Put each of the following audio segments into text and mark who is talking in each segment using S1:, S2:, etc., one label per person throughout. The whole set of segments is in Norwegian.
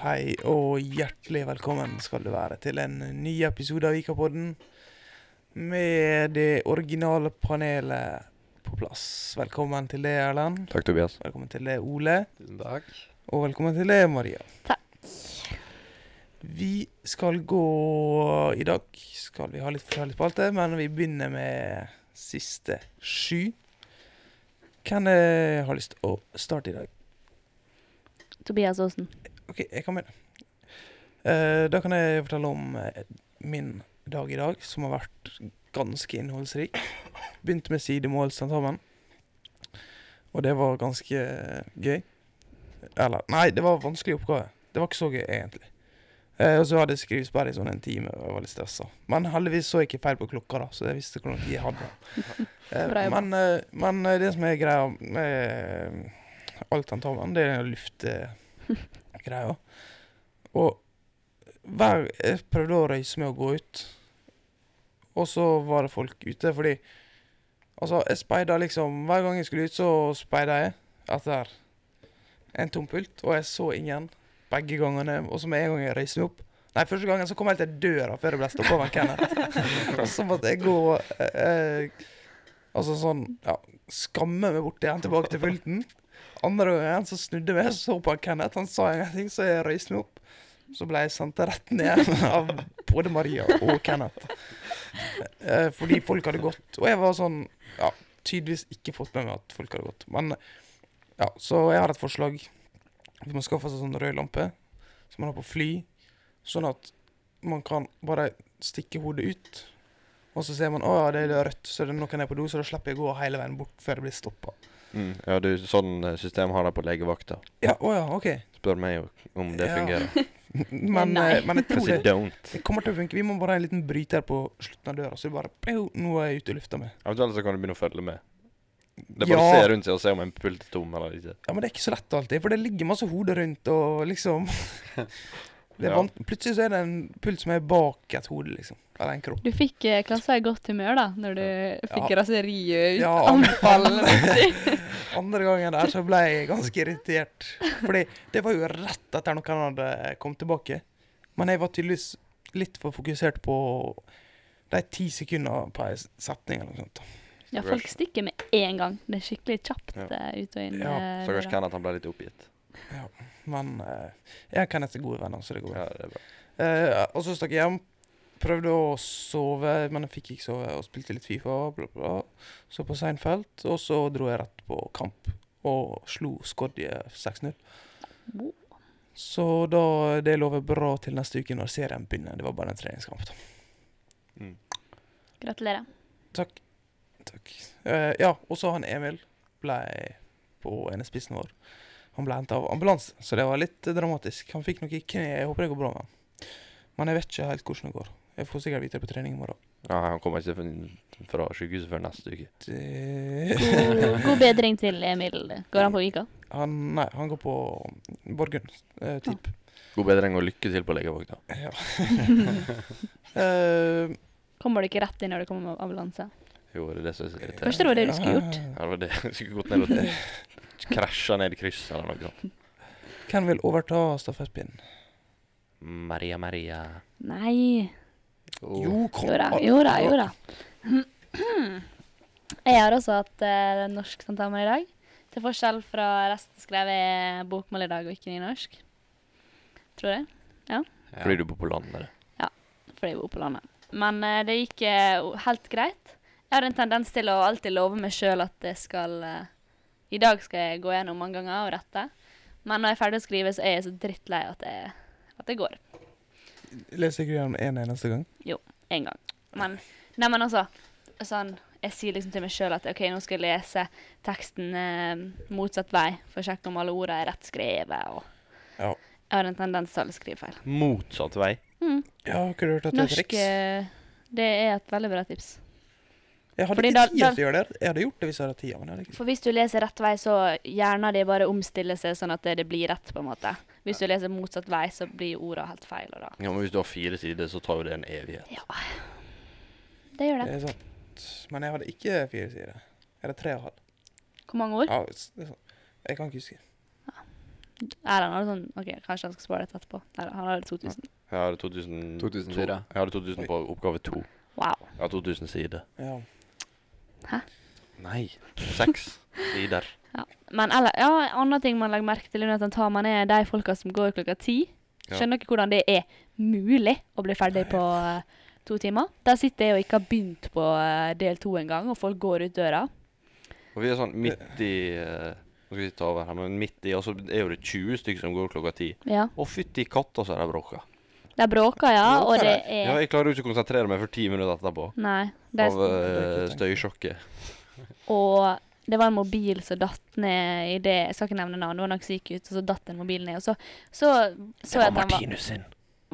S1: Hei og hjertelig velkommen skal du være til en ny episode av Vikapodden. Med det originale panelet på plass. Velkommen til det, Erlend.
S2: Takk, Tobias.
S1: Velkommen til det, Ole.
S3: Tusen takk.
S1: Og velkommen til det, Maria.
S4: Takk.
S1: Vi skal gå I dag skal vi ha litt forskjellig spalte, men vi begynner med siste sju. Hvem eh, har lyst til å starte i dag?
S4: Tobias Aasen.
S1: OK, jeg kan begynne. Eh, da kan jeg fortelle om eh, min dag i dag, som har vært ganske innholdsrik. Begynte med sidemålsentamen, og det var ganske eh, gøy. Eller Nei, det var en vanskelig oppgave. Det var ikke så gøy, egentlig. Eh, og så hadde jeg skrivesperre i sånn en time, og jeg var litt stressa. Men heldigvis så jeg ikke feil på klokka, da, så jeg visste hvor lang tid jeg hadde. Eh,
S4: Bra jobba.
S1: men, eh, men eh, det som er greia med all tentamen, det er luftgreia. Og hver, jeg prøvde å røyse med å gå ut, og så var det folk ute, fordi Altså, jeg speida liksom Hver gang jeg skulle ut, så speida jeg etter en tom pult, og jeg så ingen begge gangene. Og så med en gang jeg reiste meg opp Nei, første gangen så kom jeg helt til døra før jeg ble stoppa av en Kenneth. Og så måtte jeg gå eh, Altså sånn Ja, skamme meg bort igjen tilbake til pulten. Andre gangen så snudde jeg meg, så på han Kenneth. Han sa ingenting, så jeg reiste meg opp. Så ble jeg sendt rett ned av både Maria og Kenneth. Eh, fordi folk hadde gått. Og jeg var sånn Ja, tydeligvis ikke fått med meg at folk hadde gått. Men ja, så jeg har et forslag. Vi må skaffe seg sånn rød lampe som man har på fly, sånn at man kan bare stikke hodet ut. Og så ser man å ja, det er rødt, så er det noen er på do, så da slipper jeg å gå hele veien bort før jeg blir stoppa.
S2: Ja, du, sånn eh, system har de på legevakta.
S1: Ja, å ja, OK.
S2: Spør meg jo om det
S1: Ja.
S2: fungerer.
S1: Men,
S4: Nei.
S1: eh, men jeg tror
S2: Cause it
S1: det,
S2: don't.
S1: det kommer til å funke. Vi må bare ha en liten bryter på slutten av døra, så vi bare «Pjo, Nå er jeg ute i lufta med.
S2: Eventuelt så kan du begynne å følge med. Det er bare å se
S1: Ja,
S2: rundt seg og se om en pult er tom eller ikke.
S1: ja, men det er ikke så lett alltid, for det ligger masse hoder rundt og liksom det er
S2: Ja.
S1: vant- Plutselig så er det en pult som er bak et hode, liksom. Eller en kropp.
S4: Du fikk eh, klassa i godt humør da, når du fikk
S1: Ja.
S4: raseriet ut.
S1: Ja,
S4: anfall.
S1: Andre gangen der så ble jeg ganske irritert. Fordi det var jo rett etter noen hadde kommet tilbake. Men jeg var tydeligvis litt for fokusert på de ti sekundene på en setning eller noe sånt.
S4: ja, folk stikker med én gang. Det er skikkelig kjapt
S2: Ja.
S4: eh, ut og inn.
S1: Ja,
S4: eh,
S2: Stakkars
S4: døra.
S2: Kenneth, han ble litt oppgitt.
S1: Men eh, jeg kan etter gode venner, så det går bra.
S2: Ja, det er bra.
S1: Eh, og så stakk jeg hjem. Prøvde å sove, men jeg fikk ikke sove, og spilte litt Fifa. Bla, bla. Så på Seinfeld, og så dro jeg rett på kamp og slo Skodje 6-0.
S4: Wow.
S1: Så da, det lover bra til neste uke når serien begynner. Det var bare en treningskamp. da.
S2: Mm.
S4: Gratulerer.
S1: Takk. Takk. Eh, ja, og så han Emil ble på enespissen vår. Han ble hentet av ambulanse, så det var litt eh, dramatisk. Han fikk noe i kneet. Jeg håper det går bra med han. Men jeg vet ikke helt hvordan det går. Jeg får sikkert vite det på trening i morgen.
S2: Nei, han kommer ikke fra- fra sykehuset før neste uke.
S1: Det...
S4: God, god bedring til Emil. Går han på Vika?
S1: Han, nei, han går på Borgund. Eh, typ.
S2: God bedring og lykke til på legevakta.
S1: Ja. Eh,
S4: Kommer du ikke rett inn når du kommer med ambulanse?
S2: Jo, det er det som er så irriterende.
S4: Først det var det du skulle gjort.
S2: Ja, det var det. Jeg skulle gått ned og krasja ned i krysset eller noe sånt.
S1: Hvem vil overta stafettpinnen?
S2: Maria, Maria.
S4: Nei.
S1: Jo, kom
S4: Jo da, jo da. Jo da. Jeg har også hatt eh, norsk tentamen i dag. Til forskjell fra resten skrev jeg bokmål i dag og ikke nynorsk. Tror jeg.
S3: Ja.
S2: Fordi du bor på landet. det.
S4: Fordi jeg bor på landet. Men eh, det gikk eh, o- helt greit. Jeg har en tendens til å alltid love meg sjøl at jeg skal eh, I dag skal jeg gå gjennom mange ganger og rette. Men når jeg er ferdig å skrive, så er jeg så drittlei at, jeg- at det går.
S1: Leser ikke du gjennom én eneste gang?
S4: én gang. Men, nei, men altså, sånn, jeg sier liksom til meg sjøl at OK, nå skal jeg lese teksten eh, motsatt vei for å sjekke om alle ordene er rett skrevet. Og
S1: Ja.
S4: jeg har en tendens til å skrive feil.
S2: Motsatt vei.
S4: Mm.
S1: Ja, har ikke du hørt at det er et
S4: Norsk
S1: triks?
S4: eh, Det er et veldig bra tips.
S1: Jeg hadde
S4: fordi
S1: ikke
S4: da-
S1: tid
S4: da-
S1: til å gjøre det. Jeg hadde gjort det hvis jeg hadde hatt tid. Men jeg hadde ikke.
S4: For hvis du leser rett vei, så hjernen din bare omstiller seg sånn at det blir rett, på en måte. Hvis du leser motsatt vei, så blir ordene helt feil. Og da.
S2: Ja, men hvis du har fire sider, så tar jo det en evighet.
S4: Det gjør
S1: Det
S4: det.
S1: er sant. Men jeg hadde ikke fire sider. Jeg hadde tre og en halv.
S4: Hvor mange ord?
S1: Ja, s- det er sant. Jeg kan ikke huske.
S4: Erlend hadde sånn OK, kanskje han skal spare dette etterpå. Nei, da, han hadde 2000.
S2: Jeg har 2000,
S3: 2000
S2: to-
S3: sider.
S2: Jeg har 2000 på oppgave to.
S4: Wow.
S2: Jeg har 2000 sider.
S1: Ja.
S2: Nei. Seks sider.
S4: Men eller, ja, en annen ting man legger merke til, er at han tar man er de folka som går klokka ti.
S2: Ja.
S4: Skjønner dere hvordan det er mulig å bli ferdig på eh, to timer? Der sitter jeg og ikke har begynt på eh, del to engang, og folk går ut døra.
S2: Og vi er sånn midt i eh, Nå skal vi ta over her, men midt i, og så er jo det 20 stykker som går klokka 10.
S4: Ja.
S2: Å, fytti katta, så er de bråka.
S4: De bråker, ja, og
S1: Bråker
S4: det
S1: de?
S2: Ja,
S4: er
S2: jeg klarer jo ikke å konsentrere meg for ti minutter etterpå.
S4: Nei. Det
S2: Av
S4: er, sånn.
S2: eh,
S1: Det er ikke
S2: støysjokket.
S4: og det var en mobil som datt ned i det Jeg skal ikke nevne navn, det var noen som gikk ut, og så datt en mobil ned. Og så så, så jeg at han var
S2: sin.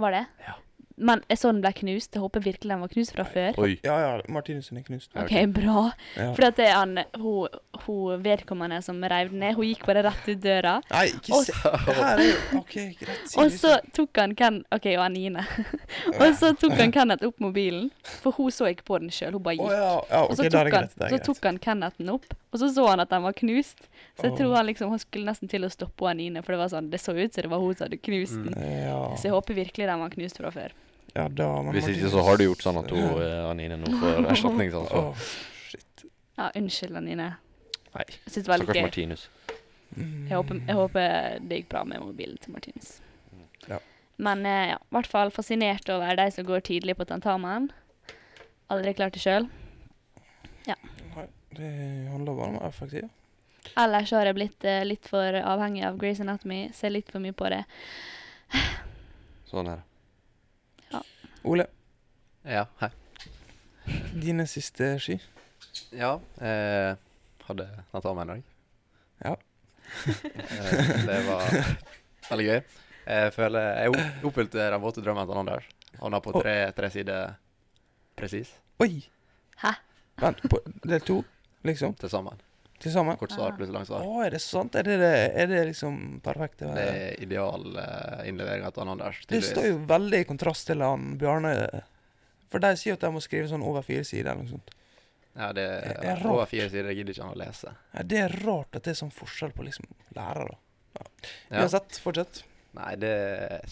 S4: Var det?
S2: Ja.
S4: Men jeg så den ble knust. Jeg håper virkelig den var knust fra før.
S2: Oi.
S1: Ja, ja. Martinussen er knust.
S2: Ja,
S4: OK, bra.
S1: Ja.
S4: Fordi at det er han, hun, hun vedkommende som reiv den ned, hun gikk bare rett ut døra.
S1: Nei, ikke
S4: Og
S1: se Det her er jo OK, greit. si
S4: Og
S1: det
S4: så tok han Ken OK, og Anine. og så tok han Kenneth opp mobilen, for hun så ikke på den sjøl, hun bare
S1: ikke. Å
S4: gikk.
S1: ja. ja
S4: Og
S1: OK,
S4: så
S1: da er
S4: tok,
S1: det
S4: han,
S1: greit. Det er
S4: så
S1: greit.
S4: tok han Kennethen opp, og så så han at den var knust. Så
S1: Åh.
S4: jeg tror han liksom, han skulle nesten til å stoppe hun Anine, for det var sånn, det så ut som det var hun som hadde knust den. Så
S1: Ja,
S4: jeg håper virkelig den var knust fra før.
S1: ja da men
S2: Hvis ikke
S1: Martinus-
S2: så har du gjort sånn at hun, eh, Anine nå får erstatningsansvar.
S1: Åh, shit.
S4: Ja, unnskyld, Anine.
S2: Nei.
S4: Jeg synes det var litt
S2: Stakkars
S4: gøy.
S2: Martinus.
S1: Mm.
S4: Jeg håper, jeg håper det gikk bra med mobilen til Martinus.
S1: Mm, Ja.
S4: Men eh, ja, i hvert fall fascinert over de som går tidlig på tentamen. Aldri klart det sjøl.
S1: Nei, det handler bare om å være effektiv.
S4: Ellers har jeg blitt eh, litt for avhengig av Grey's Anatomy. Ser litt for mye på det.
S2: Sånn her.
S1: Ole,
S3: Ja, hei.
S1: dine siste ski?
S3: Ja, eh, hadde Natama en dag.
S1: Ja.
S3: Eh, det var veldig gøy. Jeg føler jeg opp- oppfylte den våte drømmen til Anders. Havna på tre, tre sider presis
S1: Oi!
S4: Hæ?
S1: Vent, på del to, liksom?
S3: til sammen.
S1: Til sammen?
S3: Kort svar pluss langt
S1: Å,
S3: svar.
S1: er det sant? Er det, det, er det liksom perfekt? Det,
S3: Det
S1: det,
S3: er ideal eh, innlevering til Anders.
S1: det står jo veldig i kontrast til han Bjarne. For de sier jo at de må skrive sånn over fire sider eller noe sånt.
S3: Ja, det
S1: Det
S3: er
S1: er rart.
S3: over fire sider. Jeg gidder ikke han å lese.
S1: Ja, det er rart at det er sånn forskjell på liksom lærere.
S3: Ja.
S1: Uansett, fortsett.
S3: Nei, det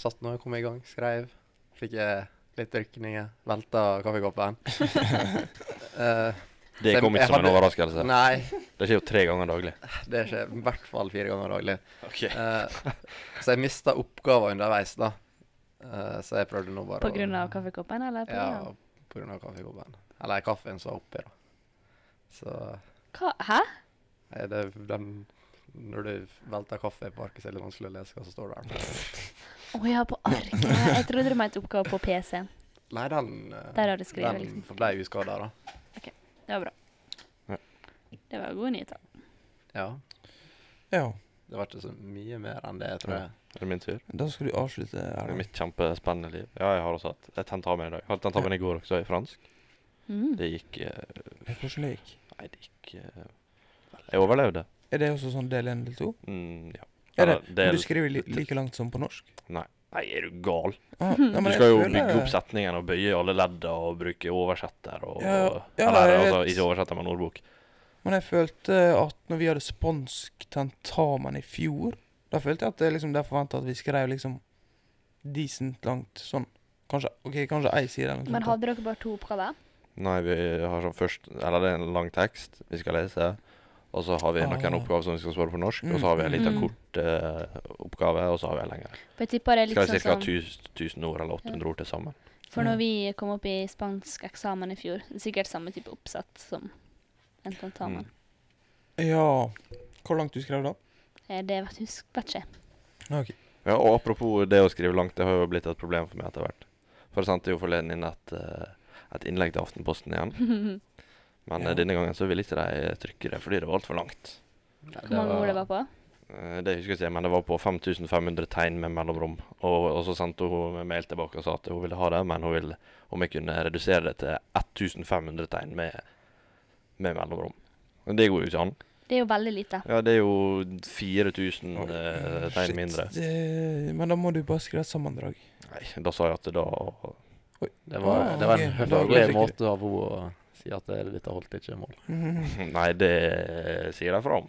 S3: satt nå jeg kom i gang. Skrev. Fikk eh, litt rykninger. Velta kaffekoppen. Eh,
S2: Det
S3: Nei,
S2: kom ikke
S3: men jeg
S2: som en
S3: hadde-
S2: overraskelse.
S3: nei,
S2: Det skjer jo tre ganger daglig.
S3: det skjer i hvert fall fire ganger daglig.
S2: Ok.
S3: Eh, så jeg mista oppgaver underveis, da. Eh, så jeg prøvde nå bare
S4: På grunn av kaffekoppen, eller? På grunn av-
S3: Ja, på grunn av kaffekoppen. Eller kaffen som var oppi, da. Så
S4: Hva? Hæ?
S3: nei, det, den, når du velter kaffe på arket, så er det litt vanskelig å lese hva som står der.
S4: Å ja, på arket. Jeg trodde det var et oppgave på PC-en.
S3: Nei, den, eh,
S4: Der har du skrevet,
S3: den
S4: liksom.
S3: forblei uskada, da.
S4: Det var
S2: Ja.
S4: bra. Det var gode nyheter.
S3: Ja.
S1: Ja,
S3: Det var ikke så mye mer enn det, jeg tror
S2: Ja.
S3: jeg.
S2: Er det min tur?
S1: da skal du avslutte,
S2: Det er
S1: Erlend.
S2: mitt kjempespennende liv. Ja, jeg har også hatt et tentamen i dag. Jeg hadde tentamen i går også, i fransk.
S4: Mm.
S2: Det gikk eh,
S1: Hvordan det gikk?
S2: Nei, det gikk eh, Jeg overlevde.
S1: Er det også sånn del én, del to?
S2: Mm, ja.
S1: Er det,
S2: Eller,
S1: Må
S2: del-
S1: du skrive li like langt som på norsk?
S2: Nei, er du gal?
S1: Ah, ja,
S2: Du
S1: men jeg
S2: skal jo
S1: føler-
S2: bygge opp setningen og bøye alle ledda og bruke oversetter og
S1: Ja, ja,
S2: Eller
S1: jeg
S2: altså,
S1: vet.
S2: ikke oversetter, men ordbok.
S1: Men jeg følte eh, at når vi hadde spansk tentamen i fjor, da følte jeg at det liksom der forventa at vi skrev liksom decent langt sånn. Kanskje ok, kanskje ei side eller noe
S4: Men
S1: sånt.
S4: hadde dere bare to oppgaver?
S2: Nei, vi har sånn først Eller det er en lang tekst vi skal lese. Og så har vi noen
S1: Ah.
S2: oppgaver som vi skal svare på norsk. Og
S1: Mm,
S2: så har vi en liten
S4: mm.
S2: kort eh, oppgave, og så har vi en lengre.
S4: For jeg tipper det er litt
S2: Skal vi
S4: sånn
S2: ca.
S4: som
S2: 1000 ord eller 800 ord til sammen?
S4: For når
S1: Mm.
S4: vi kom opp i spansk eksamen i fjor, det er sikkert samme type oppsett som en
S2: Mm.
S4: tentamen.
S1: da. Ja. Hvor langt du skrev da?
S4: Eh, Det vet, husk, vet ikke. jeg.
S1: Ja, ok.
S2: Ja, og apropos det å skrive langt, det har jo blitt et problem for meg etter hvert. For jeg sendte jo forleden inn et, eh, et innlegg til Aftenposten igjen. Men eh,
S1: Ja.
S2: denne gangen så ville ikke de trykke det fordi det var altfor langt.
S4: Hvor mange ord det var på?
S2: Eh, Det husker jeg ikke, men det var på 5500 tegn med mellomrom. Og, og så sendte hun meg mail tilbake og sa at hun ville ha det, men hun ville om jeg kunne redusere det til 1500 tegn med, med mellomrom. Men det går jo ikke an.
S4: Det er jo veldig lite.
S2: Ja, det er jo 4000 eh, tegn
S1: Shit.
S2: mindre.
S1: Det, men da må du bare skrive et sammendrag.
S2: Nei, da sa jeg at da
S3: Det var,
S1: Ah,
S3: det var en
S1: ok. Da var det
S3: høflig
S1: sikkert-
S3: måte av henne å si at det, dette holdt ikke mål.
S1: Mhm.
S2: Nei, det sier de fra om.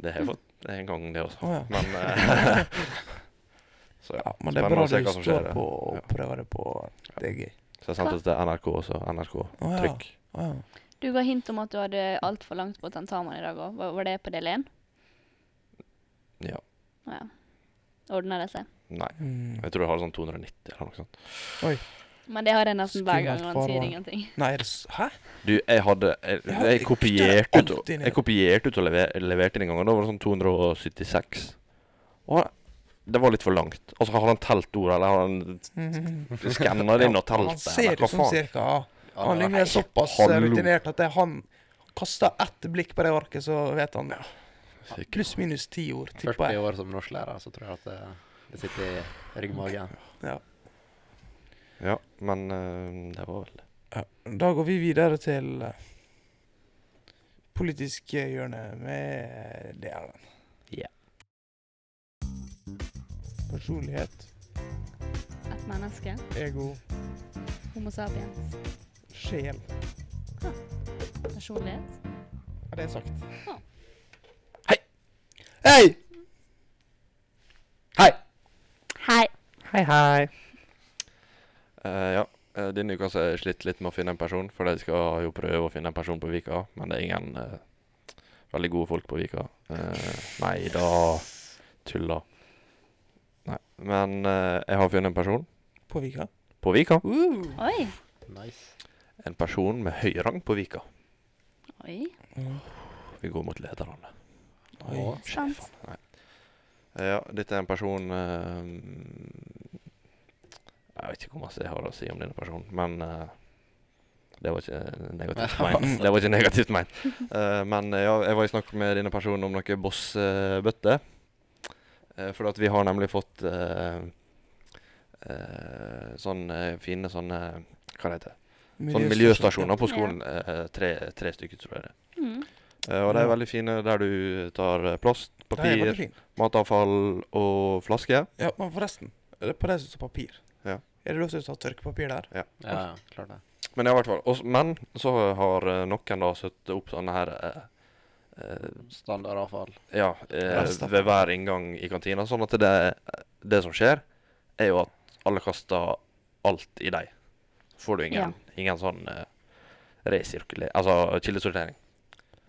S2: Det har jeg fått Det er en gang, det også.
S1: Å ja.
S2: Men eh, Så ja.
S1: ja. Men det er
S2: Spennende
S1: bra
S2: å se
S1: du
S2: hva som
S1: står
S2: skjer,
S1: på og
S2: ja.
S1: prøver det på. Det er gøy.
S2: Så jeg sendte det til NRK også. NRK
S1: Å ja.
S2: Trykk.
S1: Å ja.
S4: Du ga hint om at du hadde altfor langt på tentamen i dag òg. Var, var det på del én?
S2: Ja.
S4: Å Ja. Ordna det seg.
S2: Nei.
S1: Mm.
S2: Jeg tror jeg har sånn 290 eller noe sånt.
S4: Men det har jeg nesten hver gang,
S1: Skummelt
S4: og han sier
S1: farvann.
S4: ingenting.
S1: Nei, er det s- hæ?
S2: Du, jeg hadde Jeg,
S1: Ja,
S2: jeg
S1: jeg
S2: kopierte ut
S1: kutter alltid ned.
S2: Jeg kopierte ut og lever, leverte inn en gang, og da var det sånn 276. Og det var litt for langt. Altså, har han telt ordet, eller har han
S1: Mhm.
S2: skanna det inn og
S1: Ja,
S2: telt
S1: Han
S2: det?
S1: ser
S2: eller
S1: ut
S2: Hva
S1: som
S2: faen?
S1: cirka ja. Han
S3: Ja,
S1: Yngve er såpass eh,
S2: Hallo.
S1: rutinert at det, han kaster ett blikk på det arket, så vet han pluss-minus ti ord, tipper
S3: 40
S1: jeg.
S3: år som norsklærer, så tror jeg at det, det sitter i ryggmagen.
S2: Ja, men eh, det var vel det.
S1: Da går vi videre til eh, politisk hjørne med det er den.
S2: Ja.
S1: Personlighet,
S4: Et menneske.
S1: ego,
S4: Homo sapiens.
S1: sjel.
S4: Personlighet.
S1: Er det sagt?
S4: Ja.
S1: Hei! Hei!
S4: Hei.
S1: Hei, hei.
S2: Eh, ja. eh, Denne uka så har jeg slitt litt med å finne en person, for de skal jo prøve å finne en person på Vika. Men det er ingen eh, veldig gode folk på Vika. Eh, nei da, tulla. Nei. Men eh, jeg har funnet en person
S1: På Vika.
S2: på Vika.
S1: Uh.
S4: Oi.
S3: Nice.
S2: En person med høy rang på Vika.
S4: Oi.
S2: Vi går mot lederne.
S1: Oi.
S3: Å,
S4: Sant.
S2: Eh, ja, dette er en person eh, Jeg vet ikke hvor masse jeg har å si om denne personen, men eh, det var ikke negativt meint. Det var ikke negativt meint. Eh, men eh, ja, jeg var i snakk med denne personen om noe bossbøtter. for at vi har nemlig fått eh, eh, sånne fine sånne Hva det heter Sånne Sånn miljøstasjoner på skolen. eh, tre, tre stykker, tror jeg det er.
S4: Mm.
S2: Eh, og de er
S1: Ja.
S2: veldig fine der du tar eh, plast,
S1: Det er
S2: papir,
S1: veldig fint.
S2: matavfall og flasker.
S1: Ja, men forresten. er det På det som står papir.
S2: Ja.
S1: Er det lov til å ta tørkepapir der?
S3: Ja, ja, klart det.
S2: Men ja, i hvert fall. Og s- men så har eh, noen da satt opp sånne her eh, eh,
S3: Standardavfall.
S2: Ja, eh,
S1: Restapper.
S2: ved hver inngang i kantina. Sånn at det, det som skjer, er jo at alle kaster alt i deg. Så får du ingen, ingen sånn eh, resirkulering Altså kildesortering.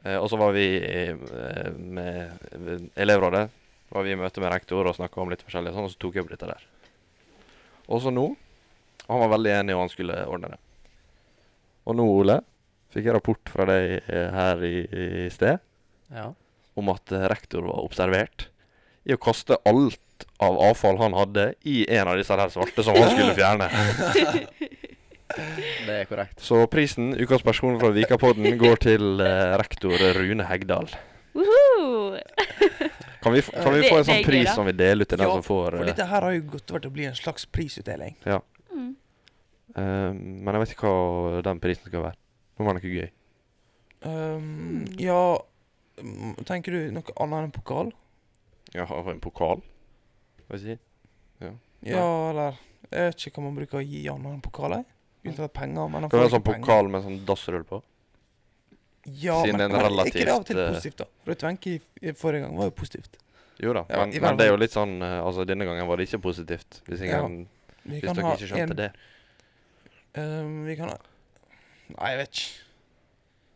S2: Eh, og så var vi eh, med ved elevrådet var vi i møte med rektor og snakka om litt forskjellig, sånn, og så tok jeg opp dette der. Og så nå og Han var veldig enig, og han skulle ordne det. Og nå, Ole, fikk jeg rapport fra deg eh, her i, i sted
S3: Ja.
S2: om at eh, rektor var observert i å kaste alt av avfall han hadde, i en av disse her svarte som han skulle fjerne.
S3: Det er korrekt.
S2: Så prisen, ukas person fra Vikapodden, går til eh, rektor Rune Hegdal.
S4: Woohoo!
S2: Kan vi, f kan vi
S4: Det-
S2: få en
S4: det
S2: sånn
S4: er gøy,
S2: pris
S4: da.
S2: som vi deler ut til den
S1: Ja,
S2: som får
S1: For
S2: eh,
S1: dette her har jo gått over til å bli en slags prisutdeling.
S4: Mm.
S2: eh, Men jeg vet ikke hva den prisen skal være. Nå var det noe gøy.
S1: Um, ja mm, Tenker du noe annet enn pokal?
S2: Ja, og en pokal? Hva skal jeg si?
S1: Ja, eller Jeg vet ikke hva man bruker å gi annet enn pokal, jeg. Unntatt penger, men han
S2: Kan vi
S1: får
S2: ha en sånn
S1: ikke penger.
S2: pokal med sånn dassrull på?
S1: Ja,
S2: siden
S1: men
S2: det er en
S1: men er ikke det av og til
S2: relativt, eh,
S1: positivt, da? Ruth Wenche i, i forrige gang var jo positivt.
S2: Jo da,
S1: Ja,
S2: men,
S1: i hvert
S2: men det er jo litt sånn eh, Altså, denne gangen var det ikke positivt. Hvis,
S1: Ja,
S2: ingen,
S1: Vi
S2: hvis
S1: kan
S2: dere
S1: ha
S2: ikke skjønte
S1: en
S2: det.
S1: um, Vi kan ha Nei, jeg vet ikke.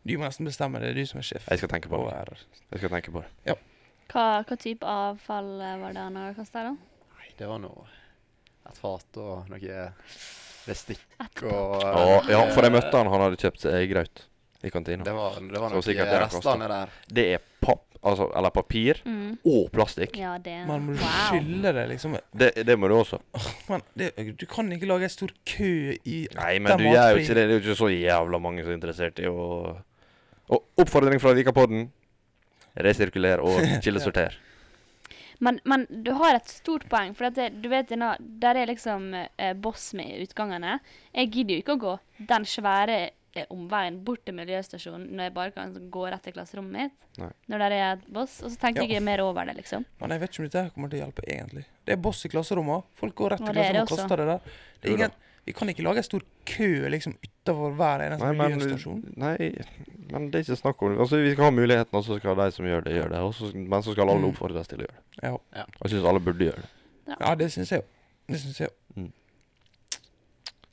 S1: Du må nesten bestemme det. Det er du som er sjef.
S2: Jeg skal tenke på
S1: Og
S2: det.
S1: er-
S2: Jeg skal tenke på det.
S4: Hva, hva type avfall eh, var det han hadde kasta, da?
S3: Nei, det var nå et fat og noe bestikk
S4: Etterpå.
S3: og eh,
S2: Ja, ja, for jeg møtte han, han hadde kjøpt seg grøt i
S3: Det
S2: kantina.
S3: var, det var
S2: Så sikkert
S3: noe
S2: det er
S3: restene der.
S2: Det er papp, altså, eller papir
S4: Mm.
S2: og plastikk.
S4: Ja, det
S1: Man må
S4: Wow.
S1: skylde det, liksom.
S2: Det, det må du også.
S1: Men det, du kan ikke lage en stor kø i
S2: Nei,
S1: Det
S2: men
S1: er
S2: du gjør jo
S1: matfri.
S2: ikke det. Det er jo ikke så jævla mange som er interessert i å Og oppfordring fra Vikapodden resirkuler og kildesorter.
S4: Men, men du har et stort poeng, for at det, du vet, denne, der er liksom eh, boss med utgangene. Jeg gidder jo ikke å gå den svære eh, omveien bort til miljøstasjonen når jeg bare kan gå rett til klasserommet mitt.
S2: Nei.
S4: Når der er et boss. Og så tenker
S1: Ja.
S4: jeg mer over det, liksom.
S1: Men jeg vet ikke om dette her kommer til å hjelpe, egentlig. Det er boss i klasserommet. Folk går rett
S4: Og
S1: til
S4: det er
S1: klasserommet
S4: det
S1: og
S4: også.
S1: kaster det der. Det
S2: Jo
S1: er ingen, Vi kan ikke lage en stor kø liksom utafor hver eneste
S2: Nei men,
S1: miljøstasjon.
S2: nei, men det er ikke snakk om det. Altså, Vi skal ha muligheten, og så skal de som gjør det, gjøre det. Og så- men så skal alle
S1: Mm.
S2: oppfordres til å gjøre det.
S1: Ja.
S2: Og jeg syns alle burde gjøre det.
S1: ja, det syns jeg jo. Det syns jeg jo.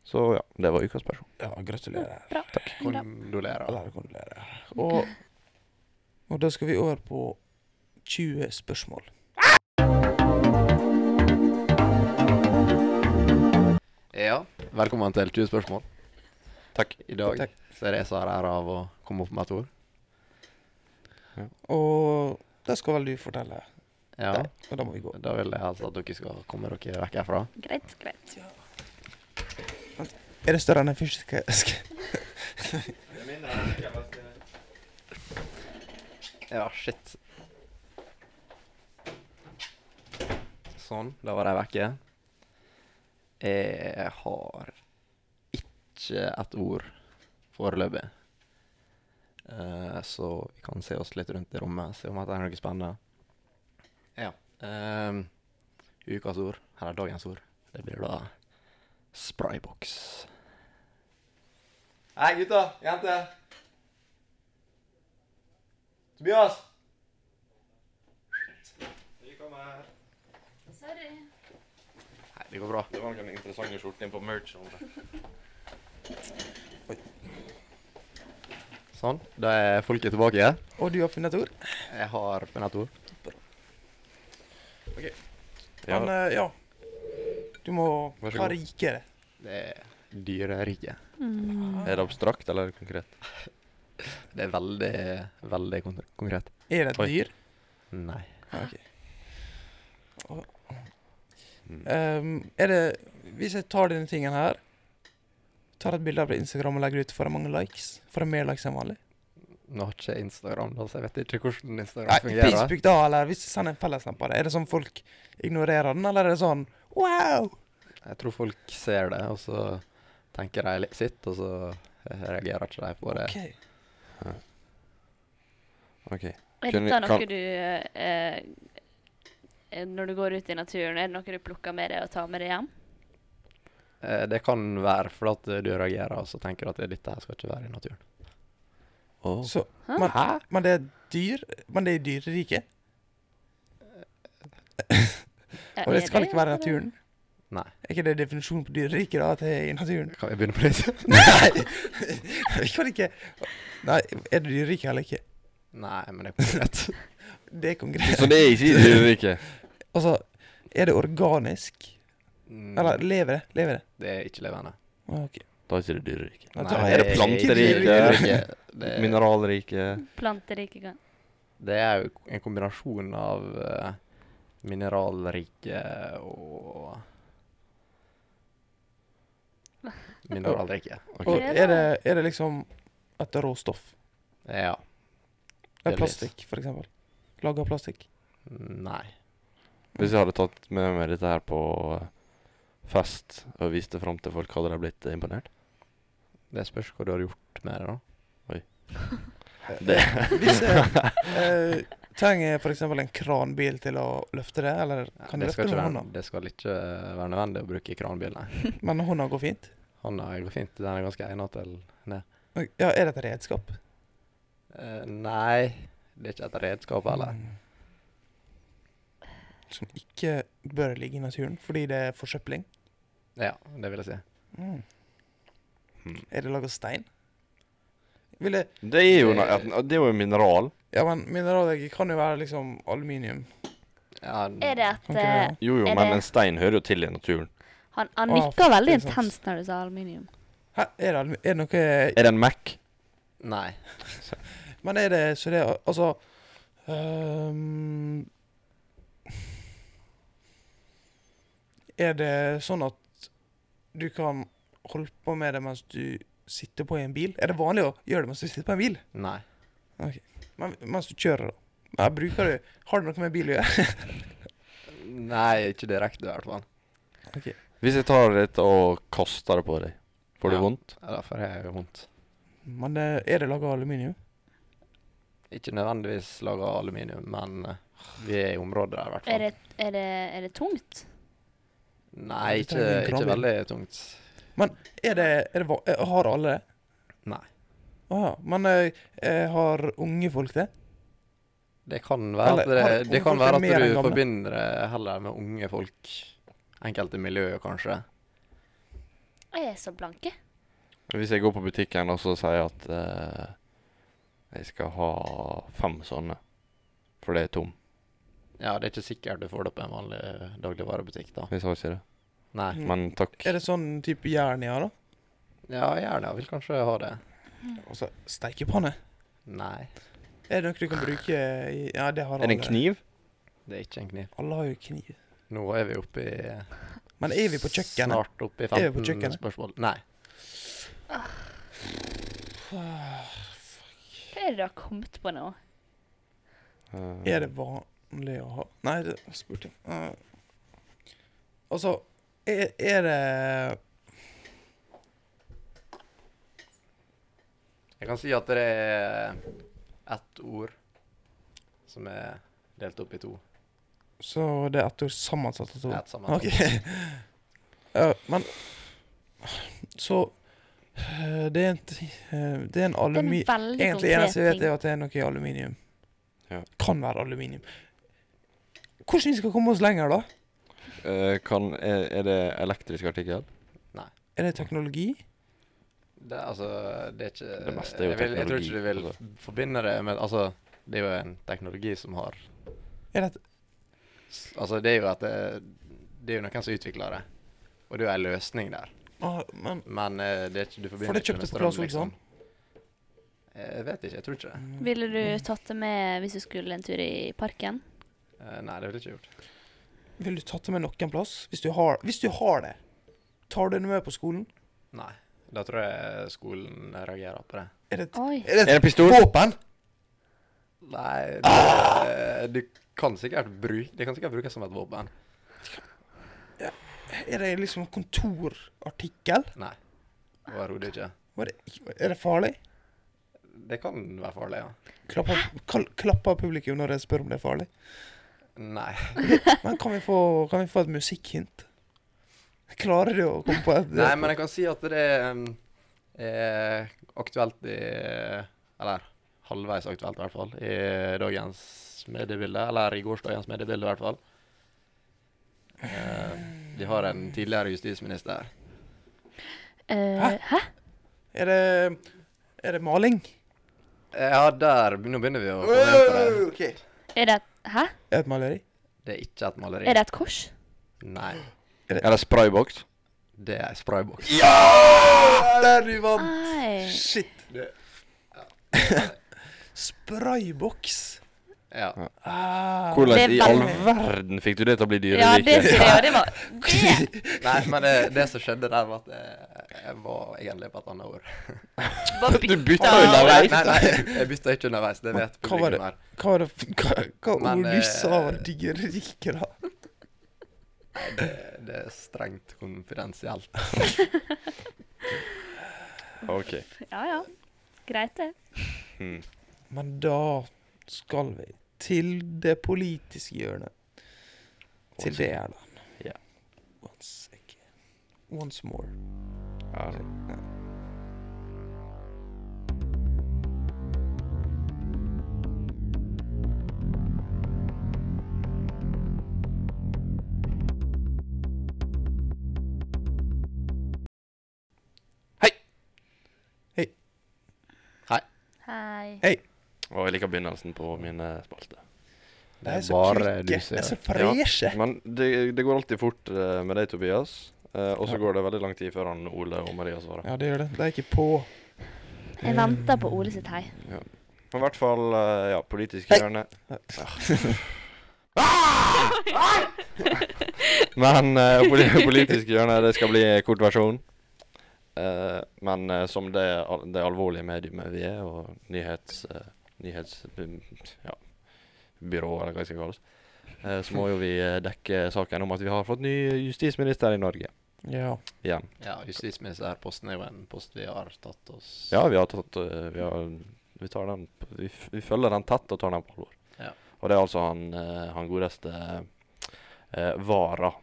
S2: Så ja, det var ukas person.
S1: Ja, gratulerer.
S4: Bra. Bra.
S3: Kondolerer.
S1: Eller kondolerer. Og, og da skal vi over på 20 spørsmål.
S3: Ja, velkommen til 20 spørsmål.
S2: Takk.
S3: I dag
S1: Takk.
S3: så er det jeg som har æra av å komme opp med et ord.
S1: Og det skal vel du fortelle.
S3: Ja,
S1: Nei. Og da må vi gå.
S3: Da vil jeg helst at dere skal komme dere vekk herfra.
S4: Greit, greit.
S1: Er det større enn en fysiske eske?
S3: Ja, shit. Sånn, da var de vekke. Jeg har ikke et ord foreløpig. Eh, så vi kan se oss litt rundt i rommet, se om det er noe spennende. Ja. ehm, ukas ord, eller dagens ord, det blir da sprayboks. Hei, gutta! Jenter! Tobias!
S4: Sorry.
S3: Nei, det går bra.
S2: Det var noen interessante skjorter inn på merch. om det.
S3: Sånn, da er folket tilbake igjen.
S1: Og du har funnet et ord?
S3: Jeg har funnet et ord.
S2: Ja.
S1: Men eh, ja. Du må
S2: Vær så
S1: ha
S2: god.
S1: rikere.
S3: Det er dyreriket.
S2: Er det abstrakt eller er det konkret?
S3: Det er veldig, veldig kon- konkret.
S1: Er det et
S2: Oi.
S1: dyr?
S3: Nei.
S1: Ja, ok. Og- Ehm, er det Hvis jeg tar denne tingen her Tar et bilde av det på Instagram og legger det ut, får jeg mange likes? Får jeg mer likes enn vanlig?
S3: Nå har ikke jeg Instagram, da, så jeg vet ikke hvordan Instagram
S1: Nei,
S3: fungerer.
S1: Facebook, da, eller hvis jeg sender en fellesnap på det, er det sånn folk ignorerer den, eller er det sånn wow?
S3: Jeg tror folk ser det, og så tenker de litt sitt, og så eh, reagerer ikke de på det.
S1: Ok.
S2: OK.
S4: Er
S2: Kunne-
S4: dette noe
S2: kan-
S4: du eh, eh, Når du går ut i naturen, er det noe du plukker med deg og tar med deg hjem?
S3: Eh, Det kan være fordi at eh, du reagerer, og så tenker du at eh, dette her skal ikke være i naturen.
S2: Oh.
S1: Så,
S4: Hæ?
S1: men, men det er dyr Men det er i dyreriket, og
S4: Ja, Eh, er
S1: det skal ikke være i
S4: eller?
S1: naturen.
S3: Nei.
S1: Er ikke det definisjonen på dyreriket, da, at det er i naturen?
S3: Kan vi begynne på nytt?
S1: Nei! Vi kan ikke Nei, er det dyreriket eller ikke?
S3: Nei, men det er konkret.
S1: Det er konkret.
S2: Så det er ikke i dyreriket?
S1: Altså, er det organisk?
S3: Mm,
S1: Eller lever det? Lever det?
S3: Det er ikke levende.
S1: Å, Ok.
S2: Da er ikke det dyreriket.
S1: Da
S3: Nei,
S1: tar jeg-
S2: Er det planter i
S3: ikke
S2: det?
S3: dyreriket. Det er-
S2: Mineralriket.
S4: Planterike gang.
S3: Det er jo en kombinasjon av eh, mineralrike og Mineralrike.
S1: Og
S2: Ok.
S4: Ok.
S1: er det, er det liksom et råstoff?
S3: Ja.
S1: Det er
S3: Delvis.
S1: plastikk, for eksempel. Laga av plastikk.
S3: Nei.
S2: Hvis jeg hadde tatt med meg dette her på eh, fest og vist det fram til folk, hadde de blitt eh, imponert?
S3: Det spørs hva du har gjort med det, da.
S2: Det.
S1: Hvis jeg eh, trenger for eksempel en kranbil til å løfte det, eller kan
S3: det,
S1: jeg løfte
S3: skal
S1: det
S3: ikke
S1: med
S3: være,
S1: hånda?
S3: det skal ikke eh, være nødvendig å bruke kranbil, nei.
S1: Men hånda går fint?
S3: Hånda går fint. Den er ganske egnet til
S1: Ok, Ja, er det et redskap?
S3: Eh, Nei, det er ikke et redskap heller.
S1: Mm. Som ikke bør ligge i naturen fordi det er forsøpling.
S3: Ja, det vil jeg si. Mm.
S2: Hmm.
S1: Er det laget av stein? Vil det
S2: Det er jo, na- det er jo en mineral.
S1: Ja, men mineralvegger kan jo være liksom aluminium.
S3: Ja,
S4: Er det at
S1: Kan ikke
S4: eh,
S1: det?
S2: Jo jo,
S4: Er
S2: men
S4: det-
S2: en stein hører jo til i naturen.
S4: Han, han
S1: Å,
S4: nikka veldig
S1: det er sant.
S4: intenst når du sa aluminium.
S1: Hæ, er det, alumi- er det noe
S2: Er det en Mac?
S3: Nei.
S1: Men er det så det er- Altså ehm, Er det sånn at du kan holde på med det mens du sitter på i en bil? Er det vanlig å gjøre det mens du sitter på en bil?
S3: Nei.
S1: Men, mens du kjører, da? Nei, bruker du Har det noe med bil å gjøre?
S3: Nei, ikke direkte, i hvert fall.
S1: Ok.
S2: Hvis jeg tar dette og kaster det på deg, får du
S3: Ja.
S2: vondt?
S3: Ja, Derfor har jeg jo vondt.
S1: Men eh, er det laga av aluminium?
S3: Ikke nødvendigvis laga av aluminium, men eh, vi er i området der, i hvert
S4: Er
S3: fall.
S4: det, er, det, er det tungt?
S3: Nei,
S1: Ja, du
S3: ikke,
S1: trenger en
S3: ikke
S1: kranbil.
S3: veldig tungt.
S1: Men er det, er det va- eh, Har alle det?
S3: Nei.
S1: Å ja. Men eh, eh, har unge folk det?
S3: Det kan være at,
S1: Eller har
S3: det, det
S1: unge
S3: kan
S1: folk
S3: være
S1: mer
S3: at
S1: enn
S3: du
S1: gamle?
S3: forbinder det heller med unge folk. Enkelte miljøer, kanskje.
S4: Jeg er så blanke.
S2: Hvis jeg går på butikken og så sier jeg at eh, jeg skal ha fem sånne, for det er tom
S3: Ja, det er ikke sikkert du får det på en vanlig eh, dagligvarebutikk, da.
S2: Jeg sa ikke det.
S3: Nei.
S1: Mm.
S2: Men takk.
S1: Er det sånn type jern jeg har, da?
S3: Ja, gjerne. Vil kanskje ha det.
S1: Altså, steikepanne?
S3: Nei.
S1: Er det noe du kan bruke i Ja, det har
S2: Er det en
S1: alle.
S2: kniv?
S3: Det er ikke en kniv.
S1: Alle har jo kniv.
S3: Nå er vi oppe i
S1: Men er vi på kjøkkenet?
S3: Snart oppe i
S1: Er vi på
S3: 15
S1: kjøkkenet?
S3: spørsmål. Nei.
S4: Hva er det du har kommet på nå?
S2: Eh,
S1: Er det vanlig å ha Nei, det spurte jeg. Eh, Altså, er, er det
S3: Jeg kan si at det er ett ord som er delt opp i to.
S1: Så det er ett ord sammensatt av to?
S3: Det er et samme
S1: Ok. Ja, men Så eh, Det er en, ti- eh, det er en
S4: Det er en
S1: alumi...
S4: veldig
S1: Egentlig eneste jeg
S4: konkret
S1: vet,
S4: ting.
S1: er at det er noe i aluminium.
S2: Ja.
S1: Kan være aluminium. Hvordan vi skal komme oss lenger, da?
S2: eh, kan, er, er det elektrisk artikkel?
S1: Er det teknologi?
S3: Det, er altså, det er ikke
S2: Det meste er jo
S3: jeg, vil, jeg tror
S2: teknologi,
S3: ikke du vil
S2: altså.
S3: f- forbinde det med Altså, det er jo en teknologi som har
S1: Er det,
S3: s- Altså, det er jo at det, det er jo noen som utvikler det, og det er jo en løsning der.
S1: ah, men
S3: Men eh, det er ikke, du forbinder
S1: det
S3: ikke
S1: kjøpte
S3: med
S1: på Clas
S3: strøm,
S1: Ohlson?
S3: liksom. Eh, Jeg vet ikke. Jeg tror ikke det.
S4: Ville du tatt det med hvis du skulle en tur i parken?
S3: Eh, Nei, det ville jeg ikke gjort.
S1: Vil du tatt det med noen plass? Hvis du har, hvis du har det, tar du det med på skolen?
S3: Nei. Da tror jeg skolen reagerer på det.
S1: Er det, et-
S4: Oi.
S1: er det
S2: Er det pistol?
S1: våpen?
S3: Nei, det, du kan sikkert bruke Det kan sikkert brukes som et våpen.
S1: Er det liksom en kontorartikkel?
S3: Nei. Overhodet ikke.
S1: Var det- Er det farlig?
S3: Det kan være farlig, ja.
S1: Klapper, kal- klapper publikum når jeg spør om det er farlig?
S3: Nei.
S1: Men kan vi få, kan vi få et musikkhint? Klarer du å komme på et
S3: Nei, men jeg kan si at det um, er aktuelt i Eller halvveis aktuelt, i hvert fall. I dagens mediebilde. Eller i gårsdagens mediebilde, i hvert fall. Eh, vi har en tidligere justisminister.
S4: Eh, hæ?
S1: Er det, er det maling?
S3: Ja, der Nå begynner vi å komme inn på det.
S4: Er det et, hæ?
S1: Er det et maleri?
S3: Det er ikke et maleri.
S4: Er det et kors?
S3: Nei.
S2: Er det sprayboks?
S3: Det er ei sprayboks.
S1: Der du vant!
S4: Nei.
S1: Shit.
S3: Det-
S1: Sprayboks.
S3: Ja.
S1: Ah.
S4: Det
S2: Hvordan
S4: er
S2: i all
S4: veldig-
S2: verden fikk du det til å bli
S4: Ja, det
S2: dyrerike?
S4: skulle jeg, det var det.
S3: Nei, men det, det som skjedde der, var at jeg, jeg var egentlig på et annet ord.
S4: Bare
S2: Du bytta
S4: bytta-
S3: Nei,
S2: underveis.
S3: nei, nei, jeg bytta ikke underveis. Det vet
S1: Hva var det?
S3: publikum her.
S1: Hva var det f- hva, hva
S3: Men,
S1: ord du sa
S3: eh,
S1: var dyrerike, da?
S3: Det, det er strengt konfidensielt.
S2: Ok.
S4: Ja, ja. Greit, det.
S2: Hmm.
S1: Men da skal vi til det politiske hjørnet. Til det, Erland.
S2: Ja.
S1: One second. Once more.
S2: Ja, altså.
S4: Hei.
S2: Og jeg liker begynnelsen på eh, mine spalter.
S1: De er så kvikke. De er så
S2: Ja.
S1: freshe.
S2: Men det, det går alltid fort eh, med deg, Tobias. Eh, og så går det veldig lang tid før han Ole og Maria svarer.
S1: Ja, det gjør det. De er ikke på.
S4: Jeg venter på Ole sitt hei.
S2: Men i hvert fall eh, ja, politisk
S1: Hei.
S2: hjørne. Men eh, poli- politisk hjørne, det skal bli kort versjon. Eh, men eh, som det, al- det alvorlige mediumet vi er, og nyhets... eh, nyhets... ja, byrå, eller hva det skal kalles, eh, så må jo vi eh, dekke saken om at vi har fått ny justisminister i Norge
S1: Ja.
S2: igjen.
S3: Ja, justisministerposten er jo en post vi har tatt oss
S2: Ja, vi har tatt eh, Vi, har, vi, tar den, p- vi, f- vi følger den tett og tar den på alvor.
S3: Ja.
S2: Og det er altså han, eh, han godeste eh, Vara.